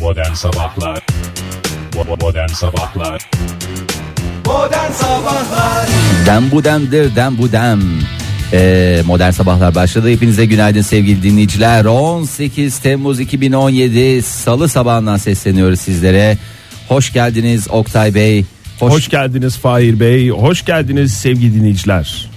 Modern Sabahlar Bo- Modern Sabahlar Modern Sabahlar Dem bu demdir dem bu dem. Ee, modern sabahlar başladı. Hepinize günaydın sevgili dinleyiciler. 18 Temmuz 2017 Salı sabahından sesleniyoruz sizlere. Hoş geldiniz Oktay Bey. Hoş, Hoş geldiniz Fahir Bey. Hoş geldiniz sevgili dinleyiciler.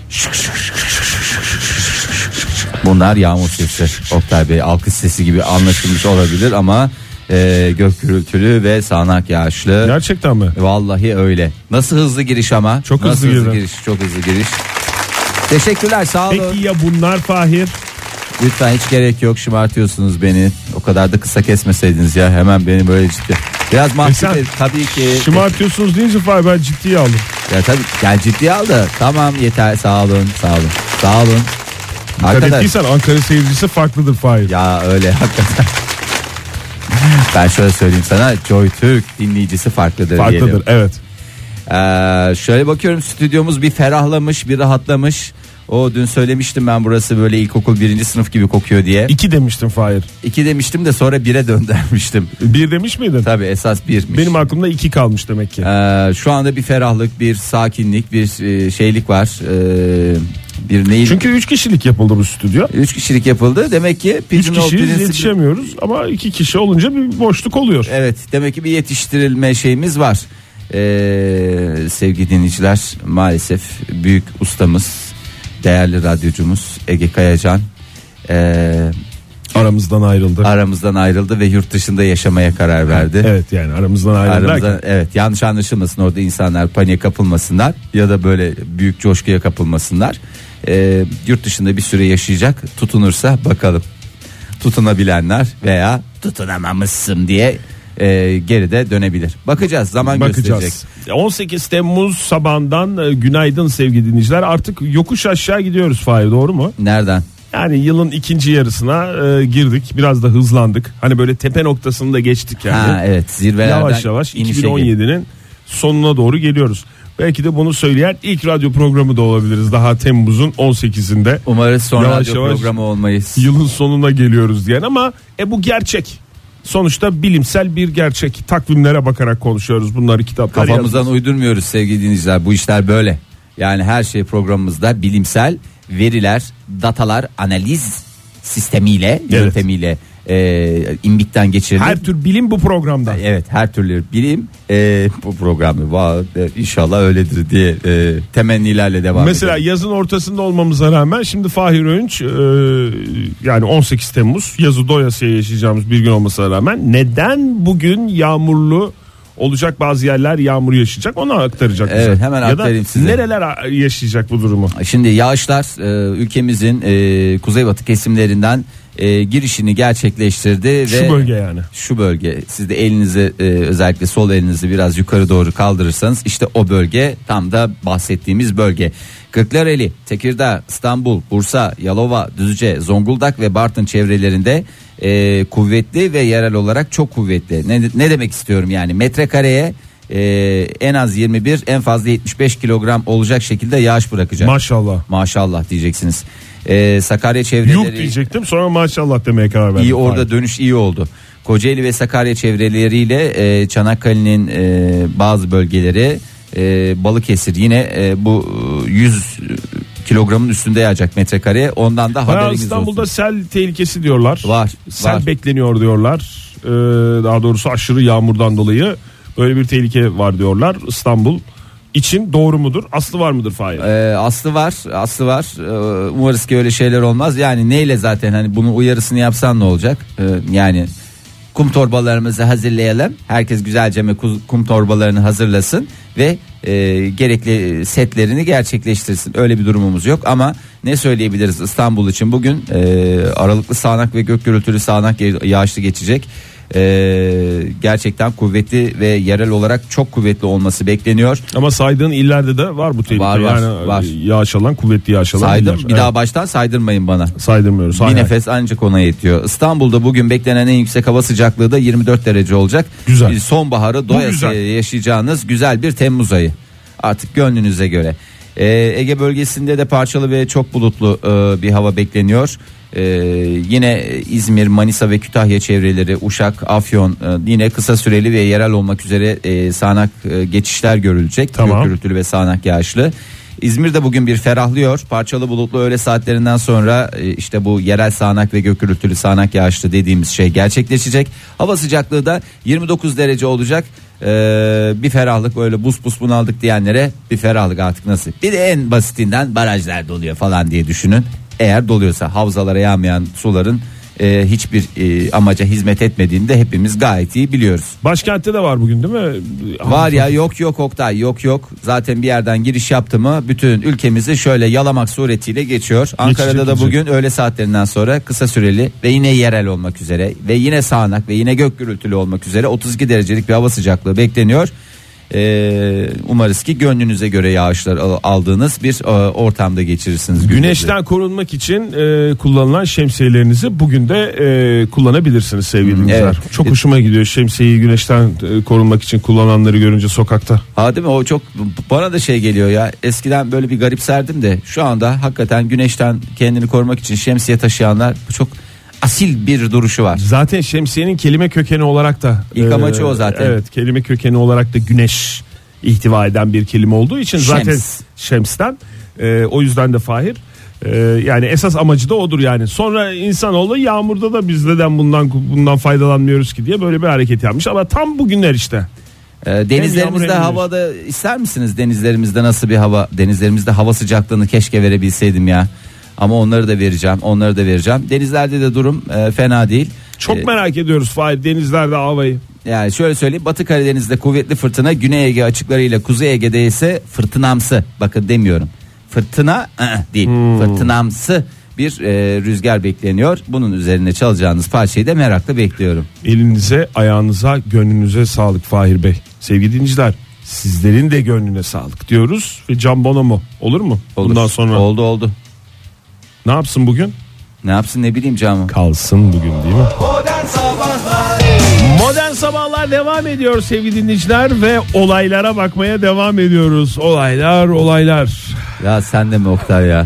bunlar yağmur sesi. Oktay Bey alkış sesi gibi anlaşılmış olabilir ama e, gök gürültülü ve sağanak yağışlı. Gerçekten mi? Vallahi öyle. Nasıl hızlı giriş ama? Çok Nasıl hızlı girdim. giriş. Çok hızlı giriş. Teşekkürler sağ olun. Peki ya bunlar Fahir? Lütfen hiç gerek yok şımartıyorsunuz beni. O kadar da kısa kesmeseydiniz ya hemen beni böyle ciddi. Biraz mahcup E sen et- tabii ki. Şımartıyorsunuz deyince Fahir ben ciddiye aldım. Ya tabii yani ciddiye al da tamam yeter sağ olun sağ olun sağ olun. Arkadaş Ettiysen Ankara seyircisi farklıdır Fahir. ya öyle hakikaten. Ben şöyle söyleyeyim sana Joy Türk dinleyicisi farklıdır, Farklıdır diyelim. evet. Ee, şöyle bakıyorum stüdyomuz bir ferahlamış bir rahatlamış. O dün söylemiştim ben burası böyle ilkokul birinci sınıf gibi kokuyor diye. İki demiştim Fahir. İki demiştim de sonra bire döndürmüştüm. Bir demiş miydin? Tabii esas birmiş. Benim aklımda iki kalmış demek ki. Ee, şu anda bir ferahlık, bir sakinlik, bir e, şeylik var. Ee, bir neyi? Çünkü üç kişilik yapıldı bu stüdyo. üç kişilik yapıldı. Demek ki Üç Pigeonhole kişiyiz prensibi- yetişemiyoruz ama iki kişi olunca bir boşluk oluyor. Evet, demek ki bir yetiştirilme şeyimiz var. Ee, sevgili dinleyiciler, maalesef büyük ustamız, değerli radyocumuz Ege Kayacan ee, Aramızdan ayrıldı. aramızdan ayrıldı ve yurt dışında yaşamaya karar verdi. Evet yani aramızdan ayrıldı. Aramızda, evet yanlış anlaşılmasın orada insanlar paniğe kapılmasınlar ya da böyle büyük coşkuya kapılmasınlar. Ee, yurt dışında bir süre yaşayacak tutunursa bakalım tutunabilenler veya tutunamamışsın diye e, geride dönebilir. Bakacağız zaman gösterecek. Bakacağız. 18 Temmuz sabahından e, günaydın sevgili dinleyiciler. Artık yokuş aşağı gidiyoruz Fahir doğru mu? Nereden? Yani yılın ikinci yarısına e, girdik. Biraz da hızlandık. Hani böyle tepe noktasını da geçtik yani. Ha evet zirvelerden yavaş yavaş inişe gir- 2017'nin sonuna doğru geliyoruz. Belki de bunu söyleyen ilk radyo programı da olabiliriz. Daha Temmuz'un 18'inde Umarız sonra Yavaş radyo yavaş- programı olmayız. yılın sonuna geliyoruz diyen ama e bu gerçek. Sonuçta bilimsel bir gerçek. Takvimlere bakarak konuşuyoruz. Bunları kitaplar yazmış. Kafamızdan uydurmuyoruz sevgili dinleyiciler. Bu işler böyle. Yani her şey programımızda bilimsel veriler, datalar, analiz sistemiyle, yöntemiyle e, imbikten geçirilir. Her tür bilim bu programda. Evet her türlü bilim e, bu programı va- e, inşallah öyledir diye e, temennilerle devam Mesela edelim. yazın ortasında olmamıza rağmen şimdi Fahir Önç e, yani 18 Temmuz yazı doyasıya yaşayacağımız bir gün olmasına rağmen neden bugün yağmurlu olacak bazı yerler yağmur yaşayacak onu aktaracak. bize. Evet, hemen ya aktarayım da size. Nereler a- yaşayacak bu durumu? Şimdi yağışlar e, ülkemizin e, kuzeybatı kesimlerinden e, girişini gerçekleştirdi ve Şu bölge yani. şu bölge siz de elinizi e, özellikle sol elinizi biraz yukarı doğru kaldırırsanız işte o bölge tam da bahsettiğimiz bölge. Kırklareli, Tekirdağ, İstanbul, Bursa, Yalova, Düzce, Zonguldak ve Bartın çevrelerinde e, kuvvetli ve yerel olarak çok kuvvetli. Ne, ne demek istiyorum yani metrekareye e, en az 21 en fazla 75 kilogram olacak şekilde yağış bırakacak. Maşallah. Maşallah diyeceksiniz. E, Sakarya Yok çevreleri... diyecektim sonra maşallah demeye karar verdim. İyi orada Fahir. dönüş iyi oldu. Kocaeli ve Sakarya çevreleriyle e, Çanakkale'nin e, bazı bölgeleri e, Balıkesir yine e, bu e, 100 kilogramın üstünde yağacak metrekare. Ondan da Bayağı haberiniz İstanbul'da olsun. sel tehlikesi diyorlar. Var, Sel var. bekleniyor diyorlar. Ee, daha doğrusu aşırı yağmurdan dolayı böyle bir tehlike var diyorlar. İstanbul için doğru mudur? Aslı var mıdır Fahir? E, aslı var, aslı var. E, umarız ki öyle şeyler olmaz. Yani neyle zaten hani bunun uyarısını yapsan ne olacak? E, yani kum torbalarımızı hazırlayalım. Herkes güzelce mi kuz- kum torbalarını hazırlasın ve e, gerekli setlerini gerçekleştirsin. Öyle bir durumumuz yok ama ne söyleyebiliriz İstanbul için bugün e, aralıklı sağanak ve gök gürültülü sağanak ya- yağışlı geçecek. E, gerçekten kuvvetli ve yerel olarak çok kuvvetli olması bekleniyor. Ama saydığın illerde de var bu tehlike. Var, var, yani e, var. yağış alan kuvvetli yağış alan Saydım. iller. Bir daha Evet, baştan saydırmayın bana. saydırmıyoruz. Hay Bir hay. nefes ancak ona yetiyor. İstanbul'da bugün beklenen en yüksek hava sıcaklığı da 24 derece olacak. Güzel. Bir sonbaharı doyasıya güzel. yaşayacağınız güzel bir Temmuz ayı. Artık gönlünüze göre. Ee, Ege bölgesinde de parçalı ve çok bulutlu e, bir hava bekleniyor. Ee, yine İzmir, Manisa ve Kütahya çevreleri, Uşak, Afyon e, yine kısa süreli ve yerel olmak üzere e, sağanak e, geçişler görülecek. Tamam. Gök gürültülü ve sağanak yağışlı. İzmir'de bugün bir ferahlıyor. Parçalı bulutlu öğle saatlerinden sonra e, işte bu yerel sağanak ve gök gürültülü sağanak yağışlı dediğimiz şey gerçekleşecek. Hava sıcaklığı da 29 derece olacak. Ee, bir ferahlık böyle buz pus bunaldık diyenlere bir ferahlık artık nasıl? Bir de en basitinden barajlar doluyor falan diye düşünün. Eğer doluyorsa havzalara yağmayan suların e, hiçbir e, amaca hizmet etmediğini de hepimiz gayet iyi biliyoruz. Başkentte de var bugün değil mi? Var ya yok yok Oktay yok yok. Zaten bir yerden giriş yaptı mı bütün ülkemizi şöyle yalamak suretiyle geçiyor. Ankara'da da gidecek. bugün öğle saatlerinden sonra kısa süreli ve yine yerel olmak üzere ve yine sağanak ve yine gök gürültülü olmak üzere 32 derecelik bir hava sıcaklığı bekleniyor. Ee, umarız ki gönlünüze göre yağışlar al- aldığınız bir e, ortamda geçirirsiniz. gününüzü. Güneşten korunmak için e, kullanılan şemsiyelerinizi bugün de e, kullanabilirsiniz sevgili dinleyiciler. evet. Çok hoşuma gidiyor şemsiyeyi güneşten e, korunmak için kullananları görünce sokakta. Ha değil mi? O çok bana da şey geliyor ya. Eskiden böyle bir garipserdim de şu anda hakikaten güneşten kendini korumak için şemsiye taşıyanlar bu çok asil bir duruşu var. Zaten şemsiyenin kelime kökeni olarak da e, İlk amacı o zaten. Evet, kelime kökeni olarak da güneş ihtiva eden bir kelime olduğu için Şems. zaten şemsten e, o yüzden de Fahir e, yani esas amacı da odur yani. Sonra insanoğlu yağmurda da biz neden bundan bundan faydalanmıyoruz ki diye böyle bir hareket yapmış ama tam bugünler işte. Ee, yağmur hem denizlerimizde güneş. havada ister misiniz denizlerimizde nasıl bir hava? Denizlerimizde hava sıcaklığını keşke verebilseydim ya. Ama onları da vereceğim. Onları da vereceğim. Denizlerde de durum e, fena değil. Çok Ee, merak ediyoruz Fahir denizlerde havayı. Yani şöyle söyleyeyim Batı Karadeniz'de kuvvetli fırtına Güney Ege açıklarıyla Kuzey Ege'de ise fırtınamsı bakın demiyorum fırtına ı-ı değil Hmm. fırtınamsı bir e, rüzgar bekleniyor. Bunun üzerine çalacağınız parçayı da merakla bekliyorum. Elinize, ayağınıza, gönlünüze sağlık Fahir Bey. Sevgili dinleyiciler, sizlerin de gönlüne sağlık diyoruz ve Can Bonomo olur mu? Olur. Bundan sonra Oldu oldu. ne yapsın bugün? Ne yapsın ne bileyim camı. Kalsın bugün değil mi? Modern Sabahlar Modern sabahlar devam ediyor sevgili dinleyiciler ve olaylara bakmaya devam ediyoruz. Olaylar, olaylar. Ya sen de mi Oktay ya?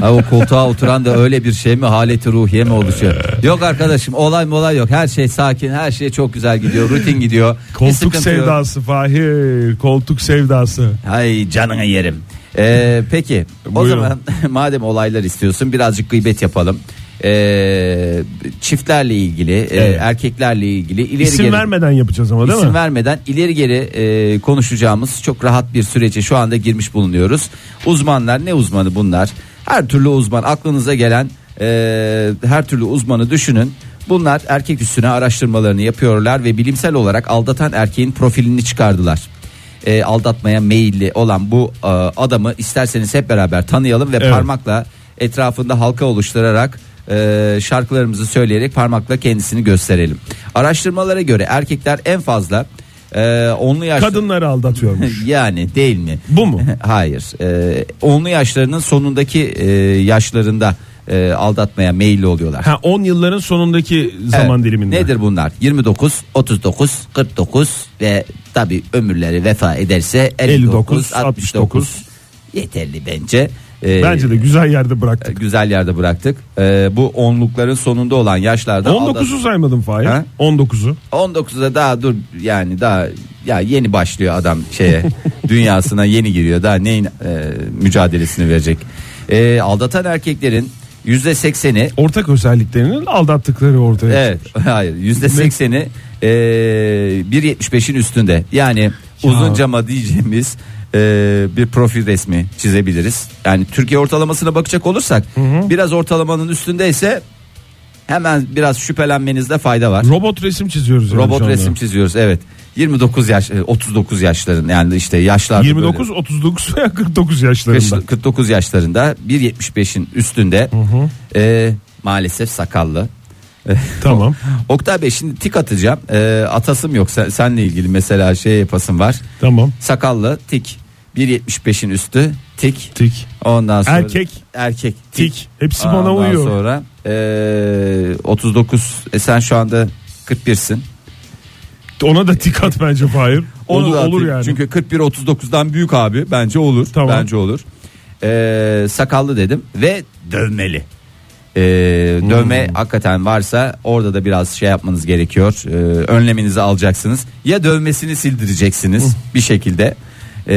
Ha, o koltuğa oturan da öyle bir şey mi haleti ruhiye mi oluşuyor? Yok arkadaşım olay mı olay yok. Her şey sakin her şey çok güzel gidiyor rutin gidiyor. Bir Koltuk sıkıntı yok. sevdası Fahir, koltuk sevdası. Hay canına yerim. Ee, peki o Buyurun. zaman madem olaylar istiyorsun birazcık gıybet yapalım. Ee, çiftlerle ilgili, e, erkeklerle ilgili ileri İsim geri vermeden yapacağız ama değil isim mi? vermeden ileri geri e, konuşacağımız çok rahat bir sürece şu anda girmiş bulunuyoruz. Uzmanlar ne uzmanı bunlar? Her türlü uzman aklınıza gelen e, her türlü uzmanı düşünün. Bunlar erkek üstüne araştırmalarını yapıyorlar ve bilimsel olarak aldatan erkeğin profilini çıkardılar. E, aldatmaya meyilli olan bu e, adamı isterseniz hep beraber tanıyalım ve Evet. parmakla etrafında halka oluşturarak e, şarkılarımızı söyleyerek parmakla kendisini gösterelim. Araştırmalara göre erkekler en fazla e, onlu yaşlı Kadınları aldatıyormuş. yani değil mi? Bu mu? Hayır. E, onlu yaşlarının sonundaki e, yaşlarında e, aldatmaya meyilli oluyorlar. Ha 10 yılların sonundaki zaman Evet. diliminde. Nedir bunlar? 29, 39, 49 ve tabi ömürleri vefa ederse 59, 59, 69. Yeterli bence. E, Bence de güzel yerde bıraktık. güzel yerde bıraktık. Ee, bu onlukların sonunda olan yaşlarda 19'u saymadım Fahir. E, Ha? 19'u. 19'a daha dur yani daha ya yeni başlıyor adam şeye dünyasına yeni giriyor daha neyin e, mücadelesini verecek. Ee, aldatan erkeklerin yüzde sekseni Ortak özelliklerinin aldattıkları ortaya evet hayır yüzde sekseni e, 1.75'in üstünde yani uzun cama diyeceğimiz e, bir profil resmi çizebiliriz. Yani Türkiye ortalamasına bakacak olursak biraz ortalamanın üstünde ise hemen biraz şüphelenmenizde fayda var. çıkmış. Robot resim çiziyoruz. yani şu Robot anda. resim çiziyoruz evet. 29 yaş e, 39 yaşların yani işte yaşlarda 29, 39 veya 49 böyle yaşlarında. 45 49 yaşlarında 1.75'in üstünde e, maalesef sakallı. Tamam. Oktay Bey şimdi tik atacağım. E, atasım yok sen, senle ilgili mesela şey yapasım var. Tamam. Sakallı tik 1.75'in üstü tik. Tik. Ondan sonra Erkek. erkek Tik. Hepsi bana Ondan uyuyor. sonra e, 39 e, sen şu anda 41'sin. Ona da tik at bence Fahir. Onu Olur, da atayım. olur yani. Çünkü 41-39'dan büyük abi. Bence olur. Tamam. Bence olur. Ee, sakallı dedim ve dövmeli. e, dövme hakikaten varsa orada da biraz şey yapmanız gerekiyor. E, önleminizi alacaksınız. Ya dövmesini sildireceksiniz bir şekilde. E,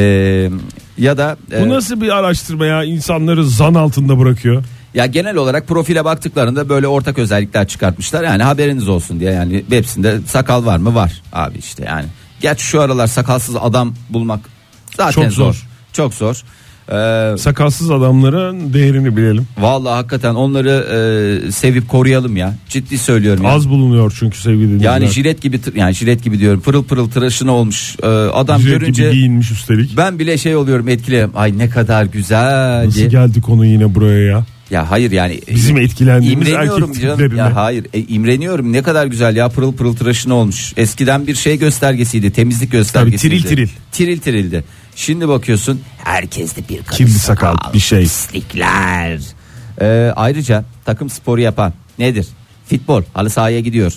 ya da e, Bu nasıl bir araştırma ya insanları zan altında bırakıyor. ya genel olarak profile baktıklarında böyle ortak özellikler çıkartmışlar. Yani haberiniz olsun diye yani hepsinde sakal var mı? Var abi işte yani. Gerçi şu aralar sakalsız adam bulmak zaten Çok zor. zor. Çok zor. Ee, Sakalsız adamların değerini bilelim. vallahi hakikaten onları e, sevip koruyalım ya. Ciddi söylüyorum. ya. Az bulunuyor çünkü sevgili dinleyiciler. Yani jilet gibi tır- yani jilet gibi diyorum. Pırıl pırıl tıraşına olmuş e, adam Jilet görünce gibi giyinmiş üstelik. ben bile şey oluyorum etkiliyorum. Ay ne kadar güzel. Nasıl diye. geldi konu yine buraya ya? Ya hayır yani Bizim etkilendiğimiz İmreniyorum erkek canım. tiplerine. Ya hayır e, imreniyorum ne kadar güzel ya pırıl pırıl tıraşını olmuş. Eskiden bir şey göstergesiydi temizlik göstergesiydi. Tabii, tiril tiril. Tiril tirildi. Şimdi bakıyorsun herkeste bir karış Kirli sakal, bir şey. Pislikler. Ee, ayrıca takım sporu yapan nedir? Futbol halı sahaya gidiyor.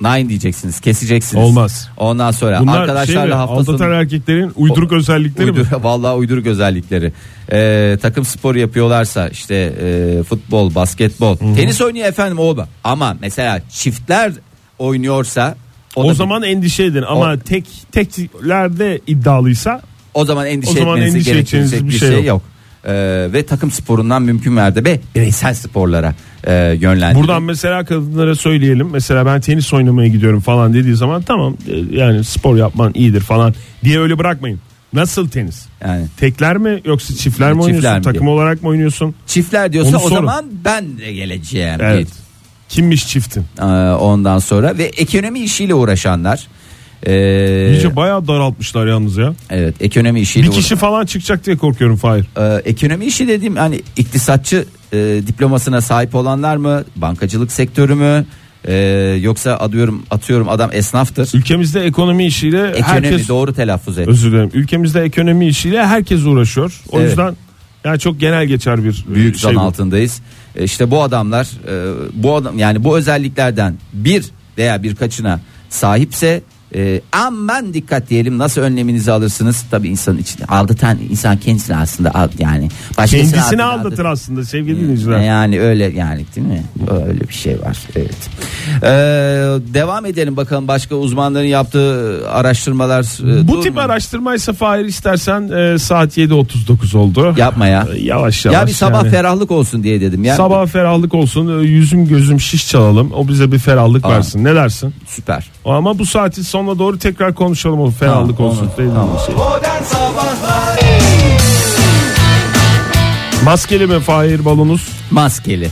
Nine diyeceksiniz keseceksiniz. Olmaz. Ondan sonra Bunlar arkadaşlarla şey mi, hafta aldatan sonu- erkeklerin uyduruk O- özellikleri mi? Uydur, vallahi uyduruk özellikleri. Ee, takım spor yapıyorlarsa işte e, futbol, basketbol, tenis oynuyor efendim o da. Ama mesela çiftler oynuyorsa o, O, da- zaman endişe edin ama O- tek teklerde iddialıysa o zaman endişe o zaman etmenizi endişe gerektirecek edeceğiniz bir şey yok. Ee, ve takım sporundan mümkün mertebe bireysel sporlara e, yönlendirin. buradan mesela kadınlara söyleyelim. Mesela ben tenis oynamaya gidiyorum falan dediği zaman tamam e, yani spor yapman iyidir falan diye öyle bırakmayın. Nasıl tenis? yani Tekler mi yoksa çiftler mi Çiftler oynuyorsun? mi? Takım olarak mı oynuyorsun? çiftler diyorsa Onu o sorun. zaman ben de geleceğim. Evet. Bir- Kimmiş çiftin? Ee, ondan sonra ve ekonomi işiyle uğraşanlar. Ee, İyice bayağı daraltmışlar yalnız ya. evet ekonomi işiyle Bir uğra- kişi falan çıkacak diye korkuyorum Fahir. Ee, ekonomi işi dediğim hani iktisatçı e, diplomasına sahip olanlar mı bankacılık sektörü mü Ee, yoksa atıyorum atıyorum adam esnaftır Ülkemizde ekonomi işiyle ekonomi herkes doğru telaffuz et özür dilerim. Ülkemizde ekonomi işiyle herkes uğraşıyor. O Evet. yüzden yani çok genel geçer bir büyük şey zan bu. altındayız Ee, işte bu adamlar e, bu adam yani bu özelliklerden bir veya birkaçına sahipse e, aman dikkat diyelim nasıl önleminizi alırsınız tabi insanın içinde aldatan insan kendisini aslında al, yani başkasını Kendisini aldat- aldatır aslında sevgili E, dinleyiciler. Yani öyle yani değil mi? Öyle bir şey var. Evet. Ee, devam edelim bakalım başka uzmanların yaptığı araştırmalar. e, Bu dur tip mu? araştırmaysa Fahir istersen e, saat 7.39 oldu. yapma ya. E, Yavaş Ya, yavaş. bir sabah yani. ferahlık olsun diye dedim ya. Sabah ferahlık olsun e, yüzüm gözüm şiş çalalım o bize bir ferahlık Aa. versin ne dersin? süper. Ama bu saatin sonuna doğru tekrar konuşalım o ferahlık Tamam, olsun. olur. Değil mi? Tamam. şey. Modern Sabahlar Maskeli mi Fahir balonuz? Maskeli.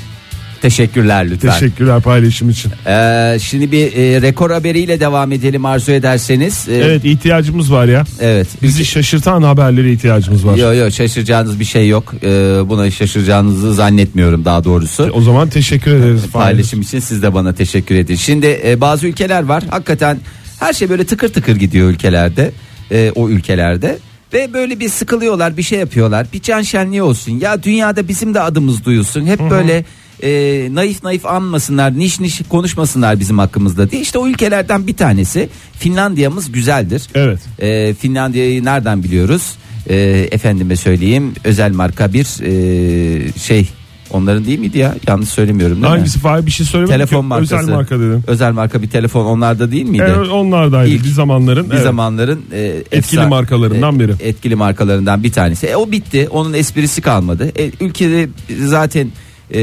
Teşekkürler lütfen. Teşekkürler paylaşım için. Ee, şimdi bir e, rekor haberiyle devam edelim arzu ederseniz. Ee, Evet ihtiyacımız var ya. Evet. Bizi şaşırtan haberlere ihtiyacımız var. Yok yok şaşıracağınız bir şey yok. Ee, buna şaşıracağınızı zannetmiyorum daha doğrusu. O zaman teşekkür ederiz Fahir. paylaşım için siz de bana teşekkür edin. Şimdi e, bazı ülkeler var hakikaten her şey böyle tıkır tıkır gidiyor ülkelerde e, o ülkelerde ve böyle bir sıkılıyorlar bir şey yapıyorlar bir can şenliği olsun ya dünyada bizim de adımız duyulsun hep böyle e, naif naif anmasınlar niş niş konuşmasınlar bizim hakkımızda diye işte o ülkelerden bir tanesi Finlandiya'mız güzeldir. Evet. E, Finlandiya'yı nereden biliyoruz? E, efendime söyleyeyim özel marka bir e, şey onların değil miydi ya? Yanlış söylemiyorum değil mi? Hangisi Fahir bir şey söylemedik. Telefon ki. markası. Özel marka dedim. Özel marka bir telefon onlarda değil miydi? Evet, onlardaydı İlk bir zamanların. bir evet. zamanların e, Etkili markalarından e, biri. Etkili markalarından bir tanesi. E, o bitti. Onun esprisi kalmadı. E, ülkede zaten e,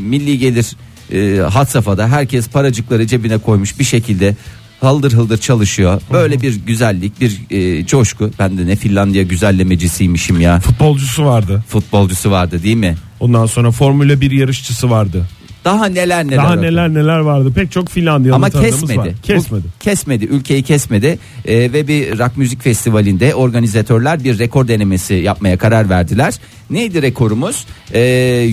milli gelir e, had safhada. Herkes paracıkları cebine koymuş bir şekilde haldır hıldır çalışıyor. Böyle bir güzellik, bir e, coşku. Ben de ne Finlandiya güzellemecisiymişim ya. Futbolcusu vardı. Futbolcusu vardı değil mi? Ondan sonra Formula 1 yarışçısı vardı. Daha neler neler. Daha oldu. neler neler vardı. Pek çok Finlandiyalı Ama tanıdığımız kesmedi. var. Bu- Kesmedi. kesmedi. Ülkeyi kesmedi. Ee, ve bir rock müzik festivalinde organizatörler bir rekor denemesi yapmaya karar verdiler. Neydi rekorumuz? Ee,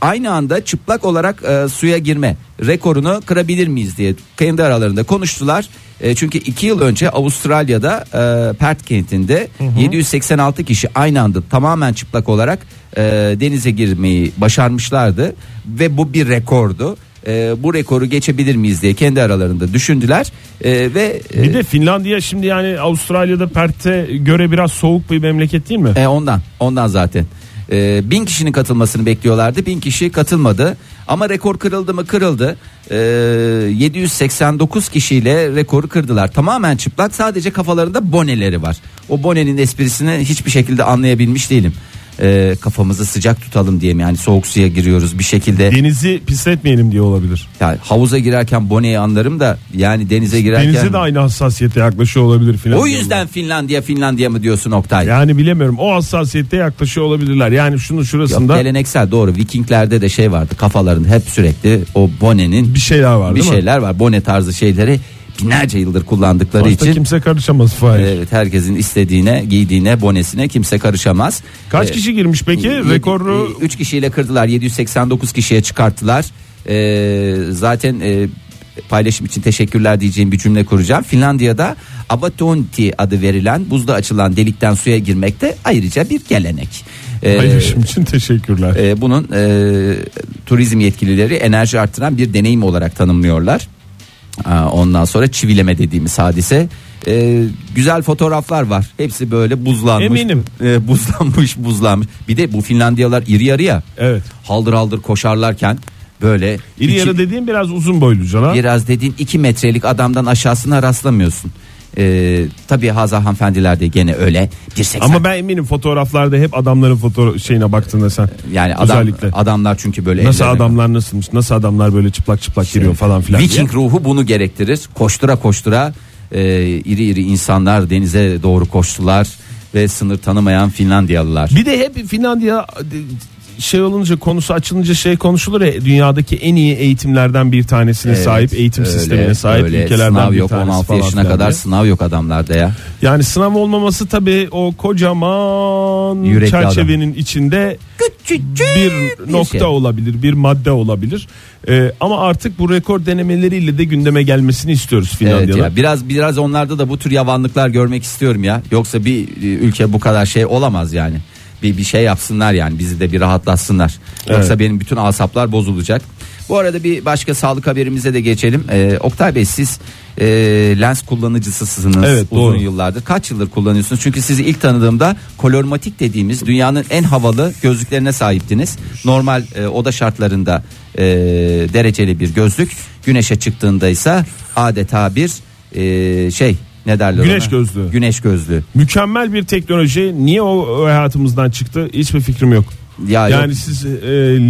aynı anda çıplak olarak e, suya girme rekorunu kırabilir miyiz diye kendi aralarında konuştular. E, çünkü iki yıl önce Avustralya'da e, Perth kentinde 786 kişi aynı anda tamamen çıplak olarak e, denize girmeyi başarmışlardı ve bu bir rekordu. E, bu rekoru geçebilir miyiz diye kendi aralarında düşündüler E, ve e, Bir de Finlandiya şimdi yani Avustralya'da Perth'e göre biraz soğuk bir memleket değil mi? e, ondan ondan zaten E, bin kişinin katılmasını bekliyorlardı. Bin kişi katılmadı. Ama rekor kırıldı mı kırıldı. E, 789 kişiyle rekoru kırdılar. Tamamen çıplak sadece kafalarında boneleri var. O bonenin esprisini hiçbir şekilde anlayabilmiş değilim. E, kafamızı sıcak tutalım diye mi? Yani soğuk suya giriyoruz bir şekilde. Denizi pisletmeyelim diye olabilir. Yani havuza girerken boneyi anlarım da yani denize girerken. Denize de aynı hassasiyete yaklaşıyor olabilir filan. O yüzden Finlandiya Finlandiya mı diyorsun Oktay? Yani bilemiyorum o hassasiyette yaklaşıyor olabilirler. Yani şunun Yok, şurasında geleneksel doğru Vikinglerde de şey vardı kafalarında hep sürekli o bonenin bir şey şeyler var bir değil mi? şeyler var. Bone tarzı şeyleri binlerce yıldır kullandıkları Başta için Ee, kimse karışamaz Fahir. evet herkesin istediğine, giydiğine, bonesine kimse karışamaz. Kaç Ee, kişi girmiş peki? yedi- Rekoru e, üç kişiyle kırdılar. 789 kişiye çıkarttılar. Ee, zaten e, paylaşım için teşekkürler diyeceğim bir cümle kuracağım. Finlandiya'da Abatonti adı verilen buzda açılan delikten suya girmekte ayrıca bir gelenek. Ee, paylaşım için teşekkürler. e, bunun e, turizm yetkilileri enerji arttıran bir deneyim olarak tanımlıyorlar. Aa, ondan sonra çivileme dediğimiz hadise. E, güzel fotoğraflar var. Hepsi böyle buzlanmış. Eminim. E, buzlanmış, buzlanmış. Bir de bu Finlandiyalar iri yarı ya. Evet. Haldır haldır koşarlarken böyle İri iki- yarı dediğim biraz uzun boylu cana. biraz dediğin 2 metrelik adamdan aşağısına rastlamıyorsun. E, tabii Hazar hanımefendiler de gene öyle. 1.80 Ama ben eminim fotoğraflarda hep adamların foto şeyine baktığında sen. yani adam, özellikle. adamlar çünkü böyle Nasıl ellerine- adamlar nasılmış? Nasıl adamlar böyle çıplak çıplak giriyor falan filan diye. Şey, Viking ruhu bunu gerektirir. Koştura koştura e, iri iri insanlar denize doğru koştular ve sınır tanımayan Finlandiyalılar. Bir de hep Finlandiya e, şey olunca konusu açılınca şey konuşulur ya dünyadaki en iyi eğitimlerden bir tanesine Evet, sahip eğitim öyle, sistemine sahip öyle. ülkelerden sınav bir yok tanesi 16 falan yaşına filan kadar diye. sınav yok adamlarda ya. Yani sınav olmaması tabii o kocaman Yürekli çerçevenin içinde bir nokta şey. olabilir, bir madde olabilir. Ee, ama artık bu rekor denemeleriyle de gündeme gelmesini istiyoruz Evet Finlandiya'da. ya biraz biraz onlarda da bu tür yavanlıklar görmek istiyorum ya. Yoksa bir e, ülke bu kadar şey olamaz yani. Bir bir şey yapsınlar yani bizi de bir rahatlatsınlar. Yoksa Evet. benim bütün asaplar bozulacak. Bu arada bir başka sağlık haberimize de geçelim. Ee, Oktay Bey siz e, lens kullanıcısısınız Evet, uzun doğru. yıllardır. Kaç yıldır kullanıyorsunuz? Çünkü sizi ilk tanıdığımda kolormatik dediğimiz dünyanın en havalı gözlüklerine sahiptiniz. Normal e, oda şartlarında e, dereceli bir gözlük. Güneşe çıktığında ise adeta bir e, şey ne derler Güneş ona? gözlüğü. Güneş gözlüğü. Mükemmel bir teknoloji. Niye o, o hayatımızdan çıktı? Hiçbir fikrim yok. Ya yani yok. siz e,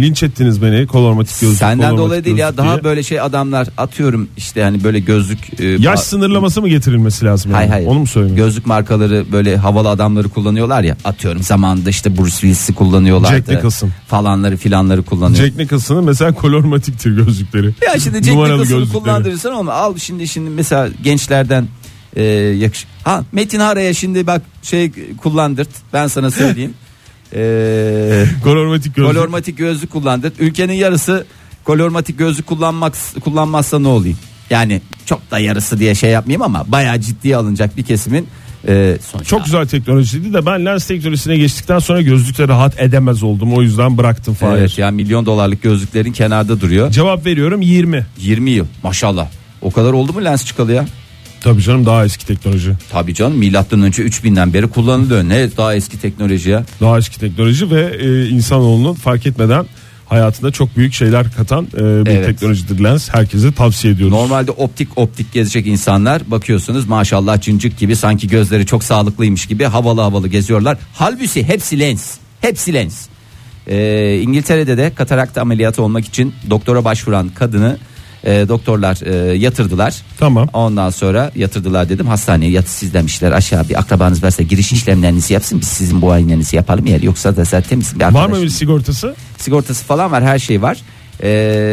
linç ettiniz beni kolormatik gözlük. Senden kolormatik dolayı değil ya gözlük daha diye. böyle şey adamlar atıyorum işte hani böyle gözlük e, Yaş ba- sınırlaması mı getirilmesi lazım? yani? Hayır hayır. Onu mu söylüyorsun? Gözlük markaları böyle havalı adamları kullanıyorlar ya. Atıyorum zamanında işte Bruce Willis'i kullanıyorlardı. Jack Nicholson. Falanları filanları kullanıyor. Jack Nicholson'ın mesela kolormatiktir gözlükleri. ya şimdi Jack Numaralı Nicholson'ı gözlükleri. kullandırırsan ama al şimdi şimdi mesela gençlerden e, yakış. Ha Metin Hara'ya şimdi bak şey kullandırt. Ben sana söyleyeyim. e, Kolormatik gözlük. kolormatik gözlük kullandırt. Ülkenin yarısı kolormatik gözlük kullanmak kullanmazsa ne olayım? Yani çok da yarısı diye şey yapmayayım ama bayağı ciddiye alınacak bir kesimin e, sonuçta- Çok güzel teknolojiydi de ben lens teknolojisine geçtikten sonra gözlükle rahat edemez oldum. O yüzden bıraktım Fahir. Evet ya milyon dolarlık gözlüklerin kenarda duruyor. Cevap veriyorum 20. 20 yıl maşallah. O kadar oldu mu lens çıkalı ya? Tabii canım daha eski teknoloji. Tabii canım milattan önce 3000'den beri kullanılıyor. Ne daha eski teknoloji ya. Daha eski teknoloji ve e, insanoğlunun fark etmeden hayatında çok büyük şeyler katan e, bir Evet. teknolojidir lens. Herkese tavsiye ediyoruz. Normalde optik optik gezecek insanlar bakıyorsunuz maşallah cincik gibi sanki gözleri çok sağlıklıymış gibi havalı havalı geziyorlar. Halbuki hepsi lens. Hepsi lens. Ee, İngiltere'de de katarakt ameliyatı olmak için doktora başvuran kadını e, doktorlar e, yatırdılar. Tamam. Ondan sonra yatırdılar dedim hastaneye yatı siz demişler aşağı bir akrabanız varsa giriş işlemlerinizi yapsın biz sizin bu muayenenizi yapalım eğer yoksa da zaten bizim bir Var mı arkadaşımız- bir sigortası? sigortası falan var her şey var. Ee,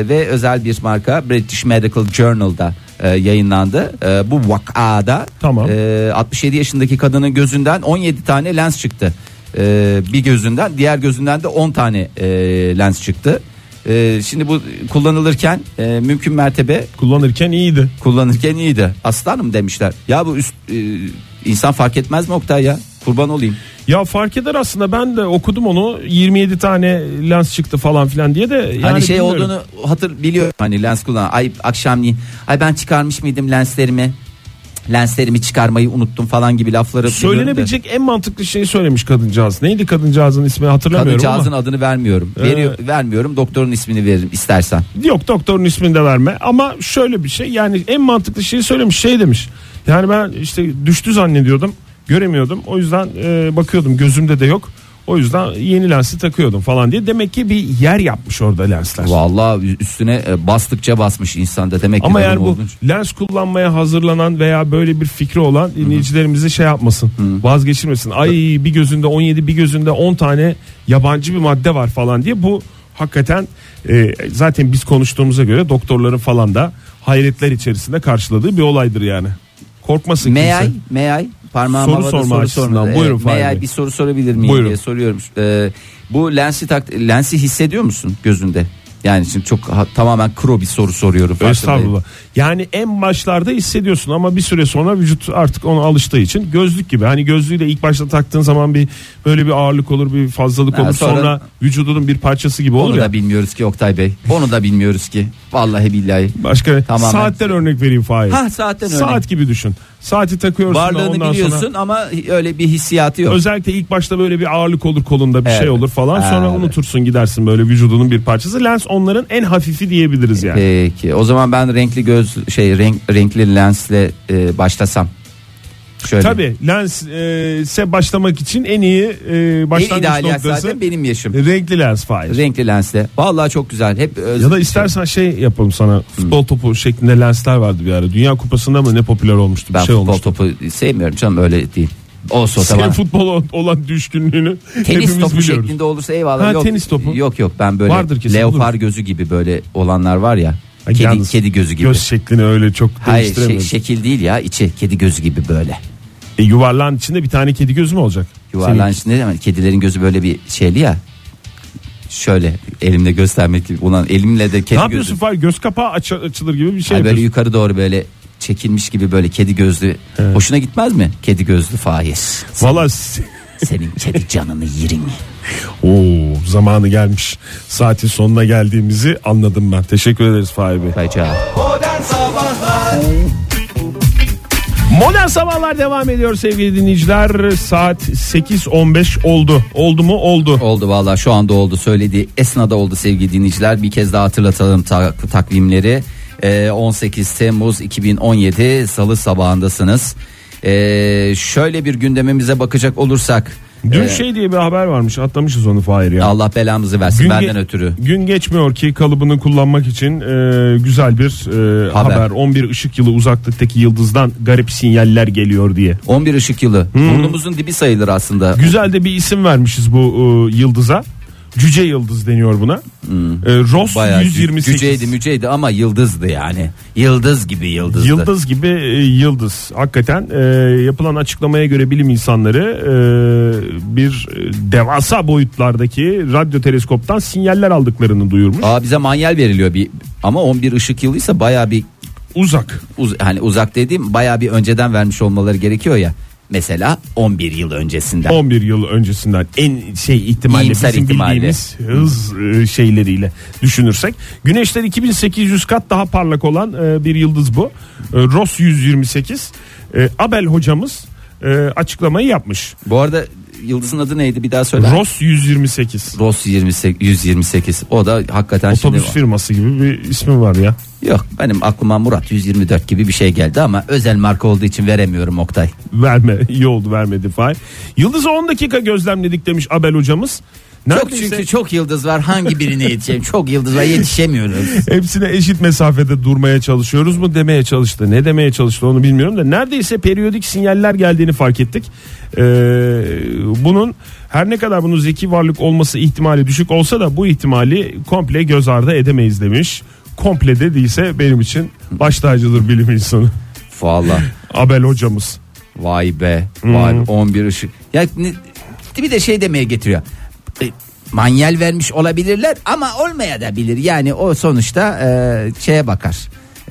ve özel bir marka British Medical Journal'da e, yayınlandı. E, bu vakada Tamam. e, 67 yaşındaki kadının gözünden 17 tane lens çıktı. E, bir gözünden diğer gözünden de 10 tane e, lens çıktı. E, şimdi bu kullanılırken e, mümkün mertebe Kullanırken iyiydi. kullanırken iyiydi. Aslanım demişler. Ya bu üst e, insan fark etmez mi Oktay ya? Kurban olayım. Ya fark eder aslında ben de okudum onu 27 tane lens çıktı falan filan diye de yani hani şey bilmiyorum. olduğunu hatır biliyor hani lens kullanan ay akşamleyin ay ben çıkarmış mıydım lenslerimi Cık, lenslerimi çıkarmayı unuttum falan gibi lafları biliyorum da. Söylenebilecek en mantıklı şeyi söylemiş kadıncağız. Neydi kadıncağızın ismi hatırlamıyorum Kadıncağızın şey ama. adını vermiyorum. Veriyor, vermiyorum. Doktorun ismini veririm istersen. Yok doktorun ismini de verme ama şöyle bir şey yani en mantıklı şeyi söylemiş şey demiş. Yani ben işte düştü zannediyordum göremiyordum o yüzden e, bakıyordum gözümde de yok. O yüzden yeni lensi takıyordum falan diye. Demek ki bir yer yapmış orada lensler. Vallahi üstüne e, bastıkça basmış insanda demek ki. Ama durum yani bu olduğunca. lens kullanmaya hazırlanan veya böyle bir fikri olan dinleyicilerimizi şey yapmasın. Vazgeçirmesin. Ay bir gözünde 17 bir gözünde 10 tane yabancı bir madde var falan diye. Bu hakikaten e, zaten biz konuştuğumuza göre doktorların falan da hayretler içerisinde karşıladığı bir olaydır yani. Korkmasın May I? kimse. May I? Parmağım Soru havada sorma soru açısından. sormadı. Buyurun Evet, may Fahir I Bey. bir soru sorabilir miyim Buyurun. diye soruyorum. Ee, bu lensi tak lensi hissediyor musun gözünde? Yani şimdi çok ha- tamamen kro bir soru soruyorum. farkındayım. Estağfurullah. Yani en başlarda hissediyorsun ama bir süre sonra vücut artık ona alıştığı için gözlük gibi. Hani gözlüğü de ilk başta taktığın zaman bir böyle bir ağırlık olur, bir fazlalık Ha, olur. Sonra, sonra- vücudunun bir parçası gibi olur Onu ya. da bilmiyoruz ki Oktay Bey. Onu da bilmiyoruz ki. Vallahi billahi. Başka Tamamen. saatten örnek vereyim Fahir. Ha, saatten örnek. Saat gibi düşün. Saati takıyorsun Varlığını ondan biliyorsun sonra. ama öyle bir hissiyatı yok. Özellikle ilk başta böyle bir ağırlık olur kolunda bir Evet. şey olur falan sonra Evet. unutursun gidersin böyle vücudunun bir parçası. Lens onların en hafifi diyebiliriz yani. Peki. O zaman ben renkli göz şey renk renkli lensle e, başlasam. Şöyle. E, Tabii lense başlamak için en iyi e, En başlangıç ideal yaş noktası zaten benim yaşım. renkli lens Fahir. Renkli lensle. Vallahi çok güzel. Hep öz- Ya da istersen şey yapalım sana futbol topu şeklinde lensler vardı bir ara. Dünya kupasında mı ne popüler olmuştu bir ben şey futbol olmuştu. topu sevmiyorum canım öyle değil. Olsun o Senin zaman. futbola olan düşkünlüğünü Tenis hepimiz topu biliyoruz. şeklinde olursa eyvallah. Ha, yok, tenis topu. Yok yok ben böyle Vardır kesin, leopar olur. gözü gibi böyle olanlar var ya. Ha, kedi, yalnız kedi gözü gibi. Göz şeklini öyle çok Hayır şey- değiştiremiyoruz. şekil değil ya içi kedi gözü gibi böyle. E, yuvarlağın içinde bir tane kedi gözü mü olacak? Yuvarlan içinde değil mi? Kedilerin gözü böyle bir şeyli ya. Şöyle elimle göstermek gibi. Ulan elimle de Ne kedi gözü. yapıyorsun Fahir? Göz kapağı aç- açılır gibi bir şey Ay böyle yapıyorsun. yukarı doğru böyle çekilmiş gibi böyle kedi gözlü. Hoşuna gitmez mi? Kedi gözlü Fahir. Sen- Valla Senin kedi canını yerim. Oo, zamanı gelmiş. Saatin sonuna geldiğimizi anladım ben. Teşekkür ederiz Fahir Bey. Rica. Modern Sabahlar Modern sabahlar devam ediyor sevgili dinleyiciler. Saat 8.15 oldu. Oldu mu? Oldu. Oldu valla şu anda oldu söylediği esnada oldu sevgili dinleyiciler bir kez daha hatırlatalım ta- takvimleri Ee, 18 Temmuz 2017 Salı sabahındasınız Ee, şöyle bir gündemimize bakacak olursak Dün e, şey diye bir haber varmış. Atlamışız onu Fahir ya. Allah belamızı versin Gün benden ge- ötürü Gün geçmiyor ki kalıbını kullanmak için e, güzel bir e, haber. Haber. 11 ışık yılı uzaklıktaki yıldızdan garip sinyaller geliyor diye. 11 ışık yılı burnumuzun dibi sayılır aslında Güzel de bir isim vermişiz bu e, yıldıza. Cüce yıldız deniyor buna. E, Ross Hmm. Bayağı cü- 128. cüceydi müceydi ama yıldızdı yani yıldız gibi yıldızdı Yıldız gibi e, yıldız. Hakikaten e, yapılan açıklamaya göre bilim insanları e, bir e, devasa boyutlardaki radyo teleskoptan sinyaller aldıklarını duyurmuş. Aa, bize manyel veriliyor bir ama 11 ışık yılıysa baya bir Uzak. uz, hani uzak dediğim bayağı bir önceden vermiş olmaları gerekiyor ya. Mesela 11 yıl öncesinden. 11 yıl öncesinden en şey ihtimalle İyimser bizim ihtimalle. bildiğimiz hız e, şeyleriyle düşünürsek güneşten 2800 kat daha parlak olan e, bir yıldız bu. E, Ross 128. E, Abel hocamız e, açıklamayı yapmış. Bu arada yıldızın adı neydi bir daha söyle. Ross 128. Ross 28 128. O da hakikaten Otobüs şimdi firması gibi bir ismi var ya. Yok benim aklıma Murat 124 gibi bir şey geldi ama özel marka olduğu için veremiyorum Oktay. Verme iyi oldu vermedi Fahir. Yıldızı 10 dakika gözlemledik demiş Abel hocamız. Çok Neredeyse çünkü çok yıldız var. Hangi birine yetişeyim? Çok yıldız var yetişemiyoruz. Hepsine eşit mesafede durmaya çalışıyoruz mu demeye çalıştı. Ne demeye çalıştı onu bilmiyorum da neredeyse periyodik sinyaller geldiğini fark ettik. Ee, bunun her ne kadar bunun zeki varlık olması ihtimali düşük olsa da bu ihtimali komple göz ardı edemeyiz demiş. Komple dediyse benim için baş tacıdır bilim insanı. Valla. Abel hocamız. Vay be. Vay be, 11 ışık. Ya ne- bir de şey demeye getiriyor. E, Manyel vermiş olabilirler ama olmaya da bilir. Yani o sonuçta e, şeye bakar.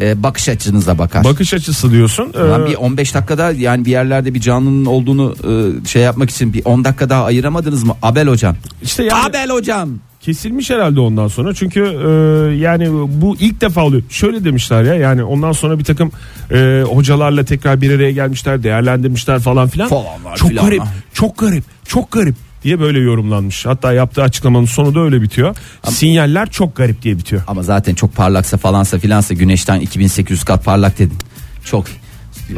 E, bakış açınıza bakar. Bakış açısı diyorsun. Ulan Ee, bir 15 dakikada yani bir yerlerde bir canlının olduğunu e, şey yapmak için bir 10 dakika daha ayıramadınız mı Abel hocam? İşte yani- Abel hocam. Kesilmiş herhalde ondan sonra çünkü e, yani bu ilk defa oluyor. Şöyle demişler ya yani ondan sonra bir takım e, hocalarla tekrar bir araya gelmişler değerlendirmişler falan filan. Falanlar çok filanlar. garip çok garip çok garip diye böyle yorumlanmış. Hatta yaptığı açıklamanın sonu da öyle bitiyor. Sinyaller çok garip diye bitiyor. Ama zaten çok parlaksa falansa filansa güneşten 2800 kat parlak dedin. Çok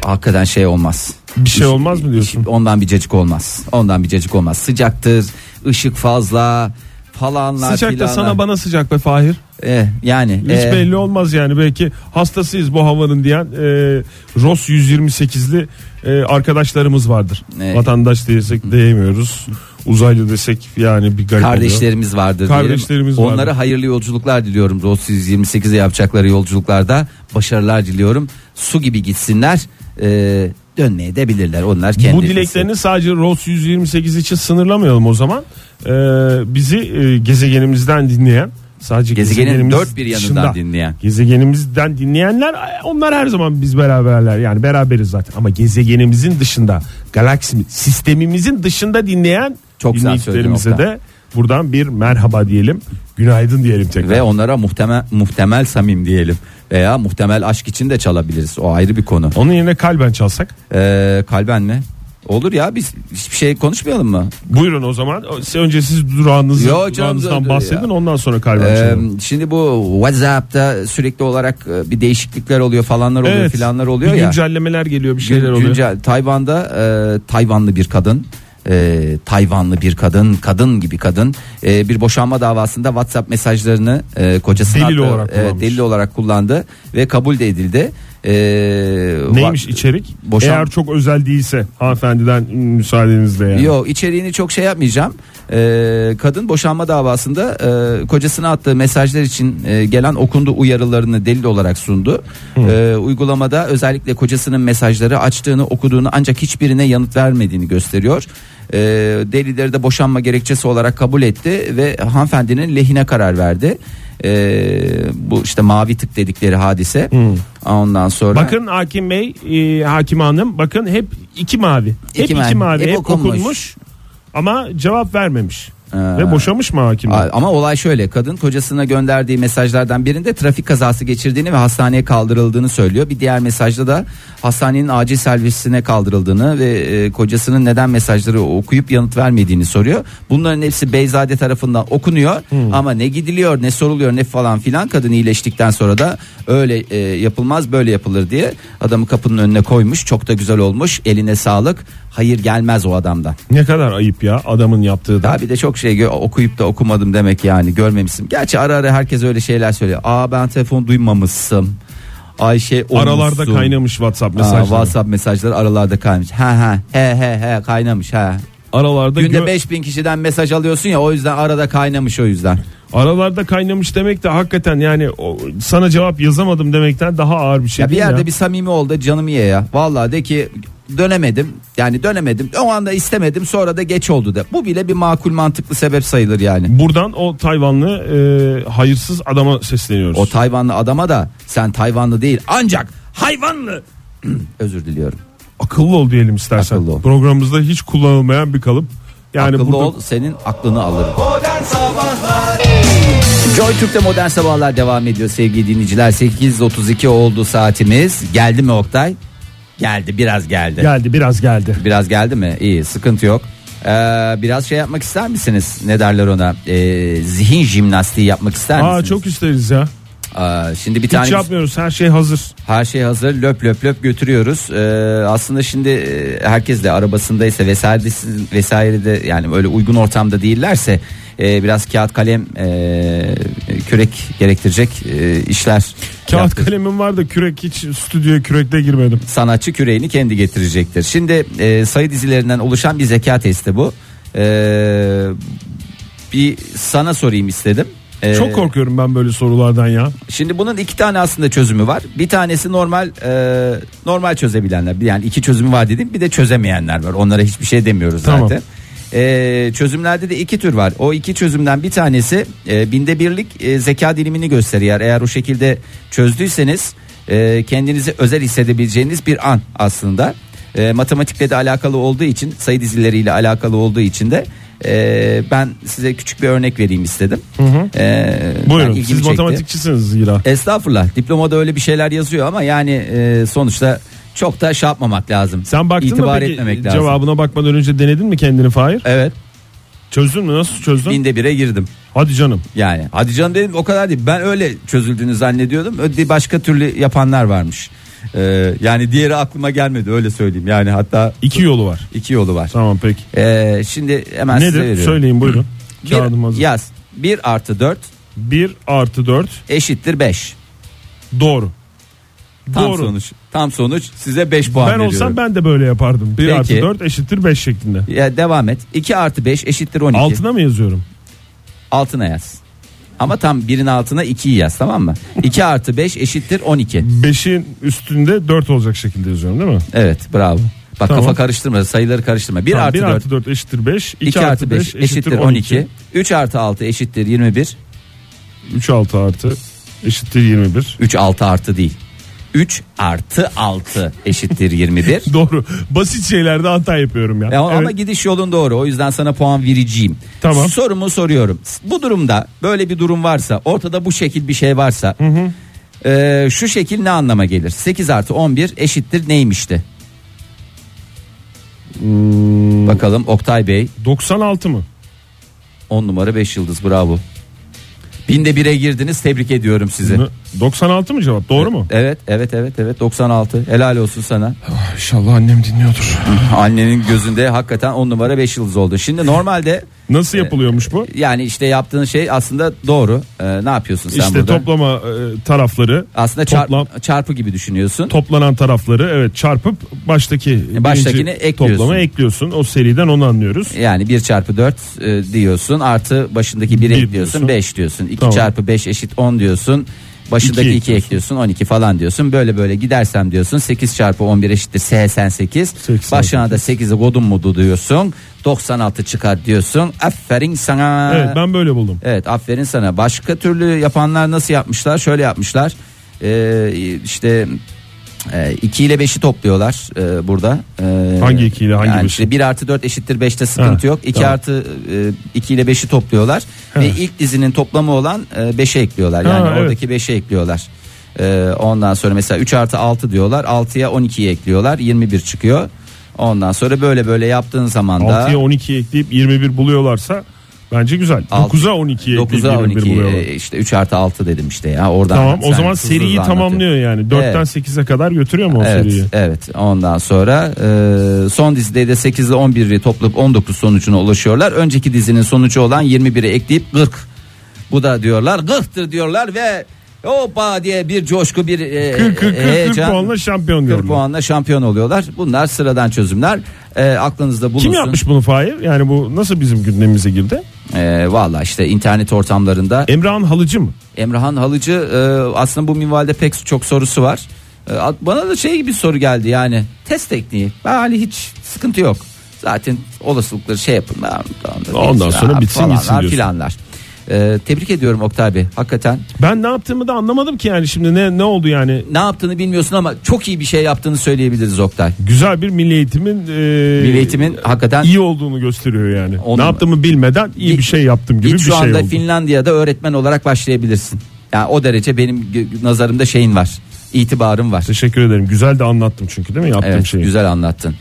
hakikaten şey olmaz. Bir şey olmaz mı diyorsun? Ondan bir cacık olmaz. Ondan bir cacık olmaz. Sıcaktır, ışık fazla falanlar Sıcakta filanlar. sana bana sıcak be Fahir. Eh, yani Hiç eh, belli olmaz yani belki hastasıyız bu havanın diyen e, Ros 128'li e, arkadaşlarımız vardır. Evet. Vatandaş desek diyemiyoruz. Uzaylı desek yani bir garip oluyor. kardeşlerimiz vardır. Kardeşlerimiz diyelim. Onlara vardır. hayırlı yolculuklar diliyorum. Ross 128'e yapacakları yolculuklarda başarılar diliyorum. Su gibi gitsinler. eh, dönmeye de bilirler. Onlar kendi Bu dileklerini sadece Ros 128 için sınırlamayalım o zaman. E, bizi e, gezegenimizden dinleyen sadece Gezegenin gezegenimiz dört bir yanından dışında, dinleyen. Gezegenimizden dinleyenler e, onlar her zaman biz beraberler yani beraberiz zaten ama gezegenimizin dışında galaksi sistemimizin dışında dinleyen Çok güzel dinleyicilerimize söyledin de buradan bir merhaba diyelim günaydın diyelim tekrar. ve onlara muhtemel muhtemel samim diyelim veya muhtemel aşk için de çalabiliriz. O ayrı bir konu. Onun yerine kalben çalsak. Ee, kalben mi? Olur ya biz hiçbir şey konuşmayalım mı? Buyurun o zaman. O- siz Önce siz durağınızı, Yo canım, durağınızdan dur- dur bahsedin ya. ondan sonra kalben Ee, çalalım. şimdi bu WhatsApp'ta sürekli olarak e, bir değişiklikler oluyor falanlar oluyor filanlar oluyor bir ya. Güncellemeler geliyor bir Gün- şeyler oluyor. güncel- Tayvan'da e, Tayvanlı bir kadın e, Tayvanlı bir kadın kadın gibi kadın e, bir boşanma davasında WhatsApp mesajlarını e, kocasına Delil attı- olarak kullanmış. delil olarak kullandı ve kabul de edildi. E, Neymiş va- içerik? boşan- Eğer çok özel değilse hanımefendiden müsaadenizle yani. Yok içeriğini çok şey yapmayacağım. Ee, kadın boşanma davasında e, kocasına attığı mesajlar için e, gelen okundu uyarılarını delil olarak sundu. Ee, uygulamada özellikle kocasının mesajları açtığını okuduğunu ancak hiçbirine yanıt vermediğini gösteriyor. Ee, delilleri de boşanma gerekçesi olarak kabul etti ve hanımefendinin lehine karar verdi. Ee, bu işte mavi tık dedikleri hadise. Ondan sonra Bakın Hakim Bey, e, Hakim Hanım bakın hep iki mavi. Hep iki İki mavi, mavi, hep, hep okunmuş. okunmuş. ama cevap vermemiş. Ee. Ve boşamış mı hakim? Bey? A- Ama olay şöyle kadın kocasına gönderdiği mesajlardan birinde trafik kazası geçirdiğini ve hastaneye kaldırıldığını söylüyor. Bir diğer mesajda da hastanenin acil servisine kaldırıldığını ve e, kocasının neden mesajları okuyup yanıt vermediğini soruyor. Bunların hepsi Beyzade tarafından okunuyor ama ne gidiliyor ne soruluyor ne falan filan kadın iyileştikten sonra da öyle e, yapılmaz böyle yapılır diye adamı kapının önüne koymuş. Çok da güzel olmuş eline sağlık hayır gelmez o adamdan. Ne kadar ayıp ya adamın yaptığı da. Daha bir de çok şey gö- okuyup da okumadım demek yani görmemişsin. Gerçi ara ara herkes öyle şeyler söylüyor. Aa ben telefon duymamışsın. Ay şey olmuşsun. Aralarda kaynamış WhatsApp Aa, mesajları. WhatsApp mesajları aralarda kaynamış. Ha ha he he he kaynamış ha. Aralarda gö- Günde 5000 kişiden mesaj alıyorsun ya o yüzden arada kaynamış o yüzden. aralarda kaynamış demek de hakikaten yani o, sana cevap yazamadım demekten daha ağır bir şey. Ya bir değil yerde ya. bir samimi ol da canım ye ya. Vallahi de ki dönemedim. Yani dönemedim. O anda istemedim. Sonra da geç oldu de. Bu bile bir makul mantıklı sebep sayılır yani. Buradan o Tayvanlı e, hayırsız adama sesleniyoruz. O Tayvanlı adama da sen Tayvanlı değil ancak hayvanlı. Özür diliyorum. akıllı ol diyelim istersen. Akıllı ol. Programımızda hiç kullanılmayan bir kalıp. Yani Akıllı burada ol senin aklını alırım. Modern Sabahlar Joy Türk'te modern sabahlar devam ediyor sevgili dinleyiciler. 8.32 oldu saatimiz. Geldi mi Oktay? Geldi biraz geldi. geldi biraz geldi. Biraz geldi mi? İyi sıkıntı yok. Ee, biraz şey yapmak ister misiniz? Ne derler ona? Ee, zihin jimnastiği yapmak ister Aa misiniz? çok isteriz ya. Aa, şimdi bir Hiç tane yapmıyoruz her şey hazır. Her şey hazır löp löp löp götürüyoruz. Ee, aslında şimdi e, herkes de arabasındaysa vesaire vesaire de yani öyle uygun ortamda değillerse e, biraz kağıt kalem e, kürek gerektirecek e, işler. Kağıt yaptı. kalemim var da kürek hiç stüdyoya kürekle girmedim. Sanatçı küreğini kendi getirecektir. Şimdi e, sayı dizilerinden oluşan bir zeka testi bu. Ee, bir sana sorayım istedim. Ee, Çok korkuyorum ben böyle sorulardan ya. Şimdi bunun iki tane aslında çözümü var. Bir tanesi normal e, normal çözebilenler. Yani iki çözümü var dedim. Bir de çözemeyenler var. Onlara hiçbir şey demiyoruz Tamam. zaten. E, çözümlerde de iki tür var. O iki çözümden bir tanesi e, binde birlik e, zeka dilimini gösteriyor. Eğer o şekilde çözdüyseniz e, kendinizi özel hissedebileceğiniz bir an aslında. E, matematikle de alakalı olduğu için sayı dizileriyle alakalı olduğu için de Ee, ben size küçük bir örnek vereyim istedim. Ee, Buyurun ben ilgimi siz çekti. matematikçisiniz zira. Estağfurullah. Diplomada öyle bir şeyler yazıyor ama yani e, sonuçta çok da şey yapmamak lazım. Sen baktın İtibar mı peki etmemek lazım. cevabına bakmadan önce denedin mi kendini Fahir? Evet. Çözdün mü nasıl çözdün? Binde bire girdim. Hadi canım. Yani hadi canım dedim o kadar değil. Ben öyle çözüldüğünü zannediyordum. Öde başka türlü yapanlar varmış. Ee, yani diğeri aklıma gelmedi öyle söyleyeyim. Yani hatta İki yolu var. iki yolu var. Tamam peki. Ee, şimdi hemen size Nedir? veriyorum. Söyleyin buyurun. Bir- Kağıdım hazır. Yaz. 1 artı 4 1 artı 4 eşittir 5. doğru. Tam Doğru. sonuç. Tam sonuç size 5 puan ben veriyorum. olsam ben de böyle yapardım. 1 Peki. artı 4 eşittir 5 şeklinde. Ya devam et. 2 artı 5 eşittir 12. Altına mı yazıyorum? Altına yaz. Ama tam birin altına 2'yi yaz tamam mı? 2 artı 5 eşittir 12. 5'in üstünde 4 olacak şekilde yazıyorum değil mi? Evet bravo. Bak Tamam. kafa karıştırma sayıları karıştırma. 1 Tamam, artı bir 4 artı 4 eşittir 5. 2, 2 artı 5 eşittir 12. 3 artı 6 eşittir 21. 3 6 artı eşittir 21. 3 6 artı değil. 3 artı 6 eşittir 21. Doğru. Basit şeylerde hata yapıyorum ya. Ya E, ama Evet. gidiş yolun doğru. O yüzden sana puan vereceğim. Tamam. Sorumu soruyorum. Bu durumda böyle bir durum varsa, ortada bu şekil bir şey varsa, e, şu şekil ne anlama gelir? 8 artı 11 eşittir neymişti? Hmm. Bakalım Oktay Bey 96 mı? 10 numara 5 yıldız bravo. Binde bire girdiniz tebrik ediyorum sizi. Ne? 96 mı cevap? Doğru mu? Evet evet evet evet 96 helal olsun sana. İnşallah Ah, annem dinliyordur. Annenin gözünde hakikaten 10 numara 5 yıldız oldu. Şimdi normalde Nasıl yapılıyormuş bu? Yani işte yaptığın şey aslında doğru. Ee, ne yapıyorsun sen İşte burada? toplama e, tarafları aslında çarp- toplam- çarpı gibi düşünüyorsun. toplanan tarafları evet çarpıp baştaki E, Baştakini birinci ekliyorsun. E, toplama ekliyorsun. O seriden onu anlıyoruz. yani 1 çarpı 4 e, diyorsun artı başındaki 1 Bir ekliyorsun diyorsun. 5 diyorsun. 2 Tamam. çarpı 5 eşit 10 diyorsun. Başındaki İki 2 ekliyorsun 12 falan diyorsun. Böyle böyle gidersem diyorsun 8 çarpı 11 eşittir 88. 88. Başına da 8'i godun mu diyorsun. 96 çıkar diyorsun. Aferin sana. Evet ben böyle buldum. Evet aferin sana. Başka türlü yapanlar nasıl yapmışlar? Şöyle yapmışlar. Ee, işte 2 ile 5'i topluyorlar e, burada. Ee, Hangi iki ile hangi yani beşi? işte 1 artı 4 eşittir 5'te sıkıntı Ha, yok. 2 tamam. artı 2 ile 5'i topluyorlar. Ve ilk dizinin toplamı olan 5'e ekliyorlar. Ha, Yani evet. oradaki 5'e ekliyorlar. Ee, ondan sonra mesela 3 artı 6 diyorlar. 6'ya 12'yi ekliyorlar. 21 çıkıyor. Ondan sonra böyle böyle yaptığın zaman da 6'ya 12 ekleyip 21 buluyorlarsa bence güzel. Altı- 9'a 12 ekleyip 9'a 21 12 buluyorlar. e, işte 3 artı 6 dedim işte ya oradan. Tamam o sen zaman hızlı seriyi hızlı anlatıyorsun. tamamlıyor yani. 4'ten Evet. 8'e kadar götürüyor mu o Evet seriyi? evet ondan sonra e, son dizide de 8 ile 11'i toplayıp 19 sonucuna ulaşıyorlar. Önceki dizinin sonucu olan 21'i ekleyip 40. Bu da diyorlar 40'tır diyorlar ve hoppa diye bir coşku bir e, 40 40 40, 40 heyecan. puanla şampiyon 40 görünüyor. puanla şampiyon oluyorlar. Bunlar sıradan çözümler. E, aklınızda bulunsun. Kim yapmış bunu Fahir? Yani bu nasıl bizim gündemimize girdi? E, Valla işte internet ortamlarında Emrah'ın halıcı mı? Emrahan Halıcı e, aslında bu minvalde pek çok sorusu var. E, at- bana da şey gibi soru geldi yani test tekniği. Ben hani hiç sıkıntı yok. Zaten olasılıkları şey yapın. ben- ben de- Ondan sonra ha, bitsin falanlar, gitsin diyorsun. Filanlar. E, tebrik ediyorum Oktay Bey. Hakikaten Ben ne yaptığımı da anlamadım ki yani şimdi ne ne oldu yani? ne yaptığını bilmiyorsun ama çok iyi bir şey yaptığını söyleyebiliriz Oktay. Güzel bir milli eğitimin, e, Milli Eğitim'in hakikaten iyi olduğunu gösteriyor yani. Onu- ne yaptığımı bilmeden iyi bir şey yaptım gibi Git bir şu şey anda oldu. Finlandiya'da öğretmen olarak başlayabilirsin. Yani o derece benim gö- nazarımda şeyin var. itibarım var. Teşekkür ederim. Güzel de anlattım çünkü değil mi yaptığım Evet şeyi? güzel anlattın.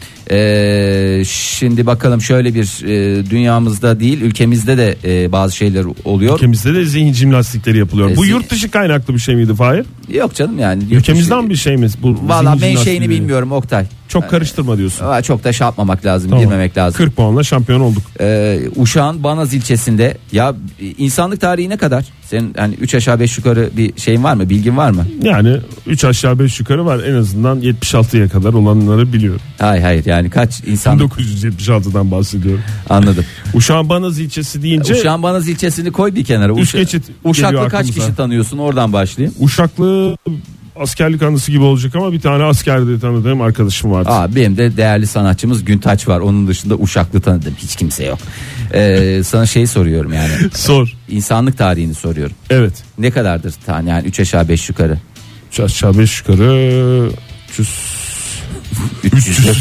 Ee, şimdi bakalım şöyle bir e, dünyamızda değil ülkemizde de e, bazı şeyler oluyor. Ülkemizde de zihin jimnastikleri yapılıyor. E, Bu zihin- yurt dışı kaynaklı bir şey miydi Fahir? Yok canım yani. yurt Ülkemizden dışı- bir şey mi? Bu Valla zihin ben şeyini jimnastikleri? bilmiyorum Oktay. Çok karıştırma diyorsun. Aa, Çok da şey yapmamak lazım Tamam. girmemek lazım. 40 puanla şampiyon olduk. Ee, Uşağın Banaz ilçesinde ya e, insanlık tarihi ne kadar? Senin hani 3 aşağı 5 yukarı bir şeyin var mı bilgin var mı? Yani 3 aşağı 5 yukarı var. En azından 76'ya kadar olanları biliyorum. Hayır hayır yani kaç insan 1976'dan bahsediyorum. anladım. Uşağın Banaz ilçesi deyince Uşağın Banaz ilçesini koy bir kenara. Üç Uşa- geçit geliyor Uşaklı kaç aklımıza. kişi tanıyorsun oradan başlayayım. Uşaklı askerlik anısı gibi olacak ama bir tane askerde tanıdığım arkadaşım vardı. Aa, benim de değerli sanatçımız Güntaç var. Onun dışında Uşaklı tanıdım. Hiç kimse yok. Ee, sana şey soruyorum yani. Sor. İnsanlık tarihini soruyorum. Evet. Ne kadardır tane yani 3 aşağı 5 yukarı? 3 aşağı 5 yukarı 300 300 yıl.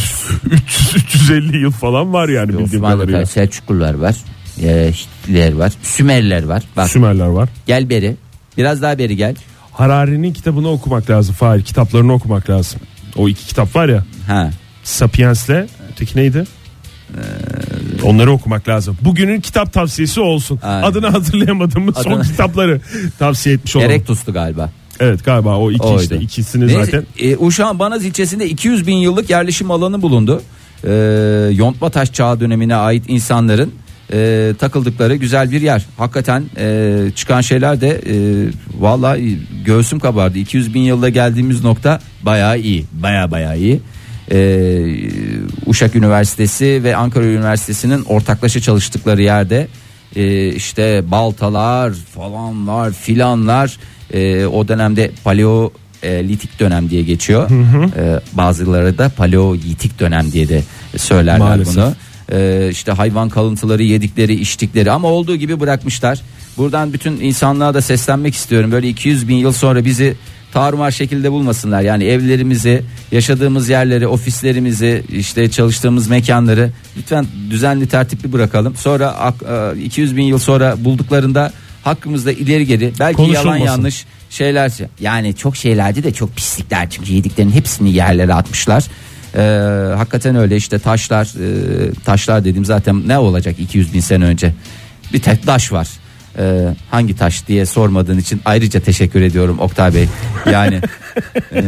300 350 yıl falan var yani bildiğim Osmanlı kadarıyla. var, Selçuklular var. E, Hitliler var. Sümerliler var. Bak Sümerler var. gel beri. Biraz daha beri gel. Harari'nin kitabını okumak lazım. Fahir kitaplarını okumak lazım. O iki kitap var ya. Ha. Sapiens'le öteki neydi? Onları okumak lazım. Bugünün kitap tavsiyesi olsun. Ee, Aynen. Adını hatırlayamadığımız son Adını- kitapları tavsiye etmiş olalım. Erektus'tu galiba. Evet galiba o iki Oydu. işte ikisini Neyse, zaten. e, Uşak'ın Banaz ilçesinde 200 bin yıllık yerleşim alanı bulundu. E, yontma taş çağı dönemine ait insanların e, takıldıkları güzel bir yer. Hakikaten e, çıkan şeyler de e, valla göğsüm kabardı. 200 bin yılda geldiğimiz nokta bayağı iyi. Baya baya iyi. E, Uşak Üniversitesi ve Ankara Üniversitesi'nin ortaklaşa çalıştıkları yerde e, işte baltalar falanlar filanlar e, o dönemde paleo e, litik dönem diye geçiyor. E, bazıları da paleolitik dönem diye de söylerler Maalesef. bunu. E, işte hayvan kalıntıları yedikleri içtikleri ama olduğu gibi bırakmışlar. Buradan bütün insanlığa da seslenmek istiyorum. Böyle 200 bin yıl sonra bizi tarumar şekilde bulmasınlar. Yani evlerimizi, yaşadığımız yerleri, ofislerimizi, işte çalıştığımız mekanları lütfen düzenli tertipli bırakalım. Sonra ak- e, 200 bin yıl sonra bulduklarında hakkımızda ileri geri belki yalan Konuşulmasın. yanlış yanlış şeyler yani çok şeylerdi de çok pislikler çünkü yediklerinin hepsini yerlere atmışlar. Ee, hakikaten öyle işte taşlar e, taşlar dedim zaten ne olacak 200 bin sene önce bir tek taş var. Ee, hangi taş diye sormadığın için ayrıca teşekkür ediyorum Oktay Bey. Yani e,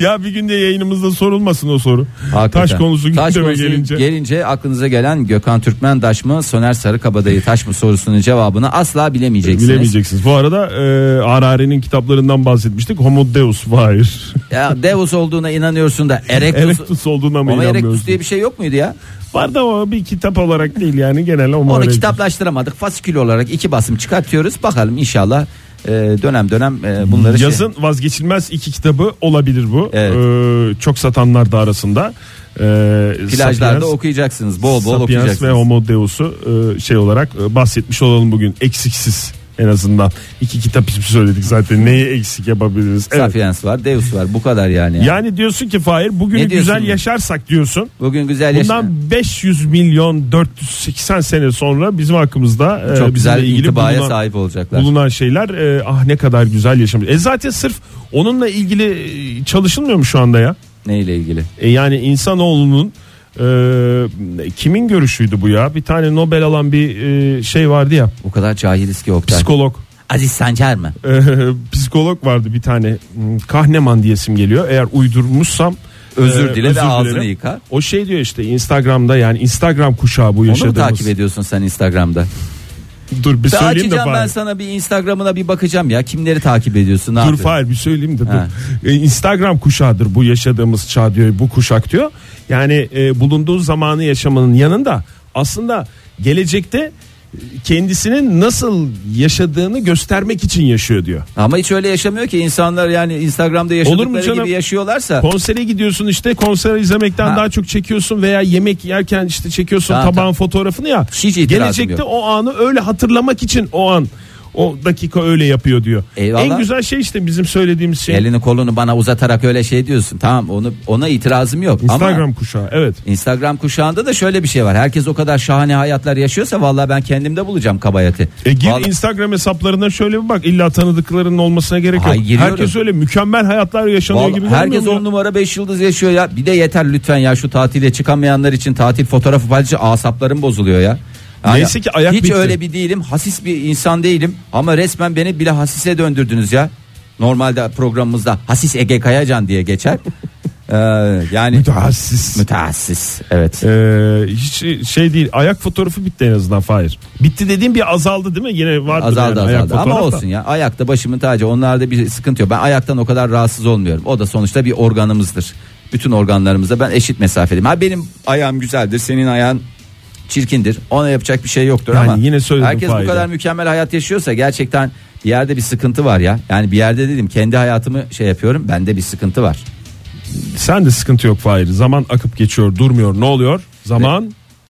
ya bir günde yayınımızda sorulmasın o soru. Hakikaten. Taş konusu gündeme Taş konusu gelince. aklınıza gelen Gökhan Türkmen taş mı Soner Sarıkabadayı taş mı sorusunun cevabını asla bilemeyeceksiniz. Bilemeyeceksiniz. Bu arada e, Harari'nin kitaplarından bahsetmiştik. Homo Deus Fahir. Ya Devos olduğuna inanıyorsun da Erectus, Erectus olduğuna mı Ama inanmıyorsun? Erectus diye bir şey yok muydu ya? Var da o bir kitap olarak değil yani genel Homo Onu Erectus. kitaplaştıramadık. Fasikül olarak iki basım çıkartıyoruz. Bakalım inşallah e, dönem dönem e, bunları şey- Yazın vazgeçilmez iki kitabı olabilir bu. Evet. Ee, çok satanlar da arasında. Ee, plajlarda Sapiens- okuyacaksınız. Bol bol Sapiens ve okuyacaksınız. Homo Deus'u e, şey olarak e, bahsetmiş olalım bugün eksiksiz en azından. iki kitap ismi söyledik zaten neyi eksik yapabiliriz. Evet. Sapiens var, Deus var. Bu kadar yani. Yani diyorsun ki Fahir bugünü Ne diyorsun güzel bugün? yaşarsak diyorsun. Bugün güzel yaşa. Bundan e, 500 milyon 480 sene sonra bizim hakkımızda e, bizimle Çok güzel ilgili intibaya bulunan- sahip olacaklar. bulunan şeyler e, ah ne kadar güzel yaşamış. E zaten sırf onunla ilgili e, çalışılmıyor mu şu anda ya? Neyle ilgili? E yani insanoğlunun e, kimin görüşüydü bu ya? Bir tane Nobel alan bir e, şey vardı ya. O kadar cahiliz ki Oktay. Psikolog. Aziz Sancar mı? E, psikolog vardı bir tane. Hmm, Kahneman diyesim geliyor. Eğer uydurmuşsam Özür e, dile ve ağzını dilerim. yıka. O şey diyor işte Instagram'da yani Instagram kuşağı bu Onu mu yaşadığımız. takip ediyorsun sen Instagram'da? Dur bir Ben söyleyeyim de açacağım ben bari. sana bir Instagram'ına bir bakacağım ya. Kimleri takip ediyorsun? Ne Dur yapıyorsun? Fahir bir söyleyeyim de Ha. dur. E, Instagram kuşağıdır bu yaşadığımız çağ diyor bu kuşak diyor. Yani e, bulunduğu zamanı yaşamanın yanında aslında gelecekte e, kendisinin nasıl yaşadığını göstermek için yaşıyor diyor. Ama hiç öyle yaşamıyor ki insanlar yani Instagram'da yaşadıkları Olur mu canım? gibi yaşıyorlarsa Konsere gidiyorsun işte konser izlemekten Ha. daha çok çekiyorsun veya yemek yerken işte çekiyorsun Tamam, tabağın fotoğrafını ya. Hiç itirazım gelecekte yok. o anı öyle hatırlamak için o an o dakika öyle yapıyor diyor. Eyvallah. En güzel şey işte bizim söylediğimiz şey. elini kolunu bana uzatarak öyle şey diyorsun. Tamam onu ona itirazım yok Instagram ama kuşağı evet. Instagram kuşağında da şöyle bir şey var. Herkes o kadar şahane hayatlar yaşıyorsa vallahi ben kendimde bulacağım kabayatı. E gir Vallahi- Instagram hesaplarına şöyle bir bak. İlla tanıdıklarının olmasına gerek yok. Ay, giriyorum. Herkes öyle mükemmel hayatlar yaşanıyor Vallahi gibi herkes görmüyor on mu ya? numara 5 yıldız yaşıyor ya. Bir de yeter lütfen ya şu tatile çıkamayanlar için tatil fotoğrafı paylaşınca asaplarım bozuluyor ya. Neyse ki ayak Hiç bitti. öyle bir değilim. Hasis bir insan değilim. Ama resmen beni bile hasise döndürdünüz ya. Normalde programımızda Hasis Ege Kayacan diye geçer. Ee, yani Mütehassıs. müteassis. Evet. Ee, hiç şey değil. Ayak fotoğrafı bitti en azından Fahir. Bitti dediğim bir azaldı değil mi? Yine vardı Azaldı yani ayak azaldı ama fotoğraf da. olsun ya ayakta başımın tacı onlarda bir sıkıntı yok ben ayaktan o kadar rahatsız olmuyorum o da sonuçta bir organımızdır bütün organlarımızda ben eşit mesafedeyim ha benim ayağım güzeldir senin ayağın çirkindir ona yapacak bir şey yoktur Yani ama yine söyledim herkes bu Fahir'e. kadar mükemmel hayat yaşıyorsa gerçekten bir yerde bir sıkıntı var ya yani bir yerde dedim kendi hayatımı şey yapıyorum bende bir sıkıntı var Sen de sıkıntı yok Fahir. Zaman akıp geçiyor durmuyor. Ne oluyor? Zaman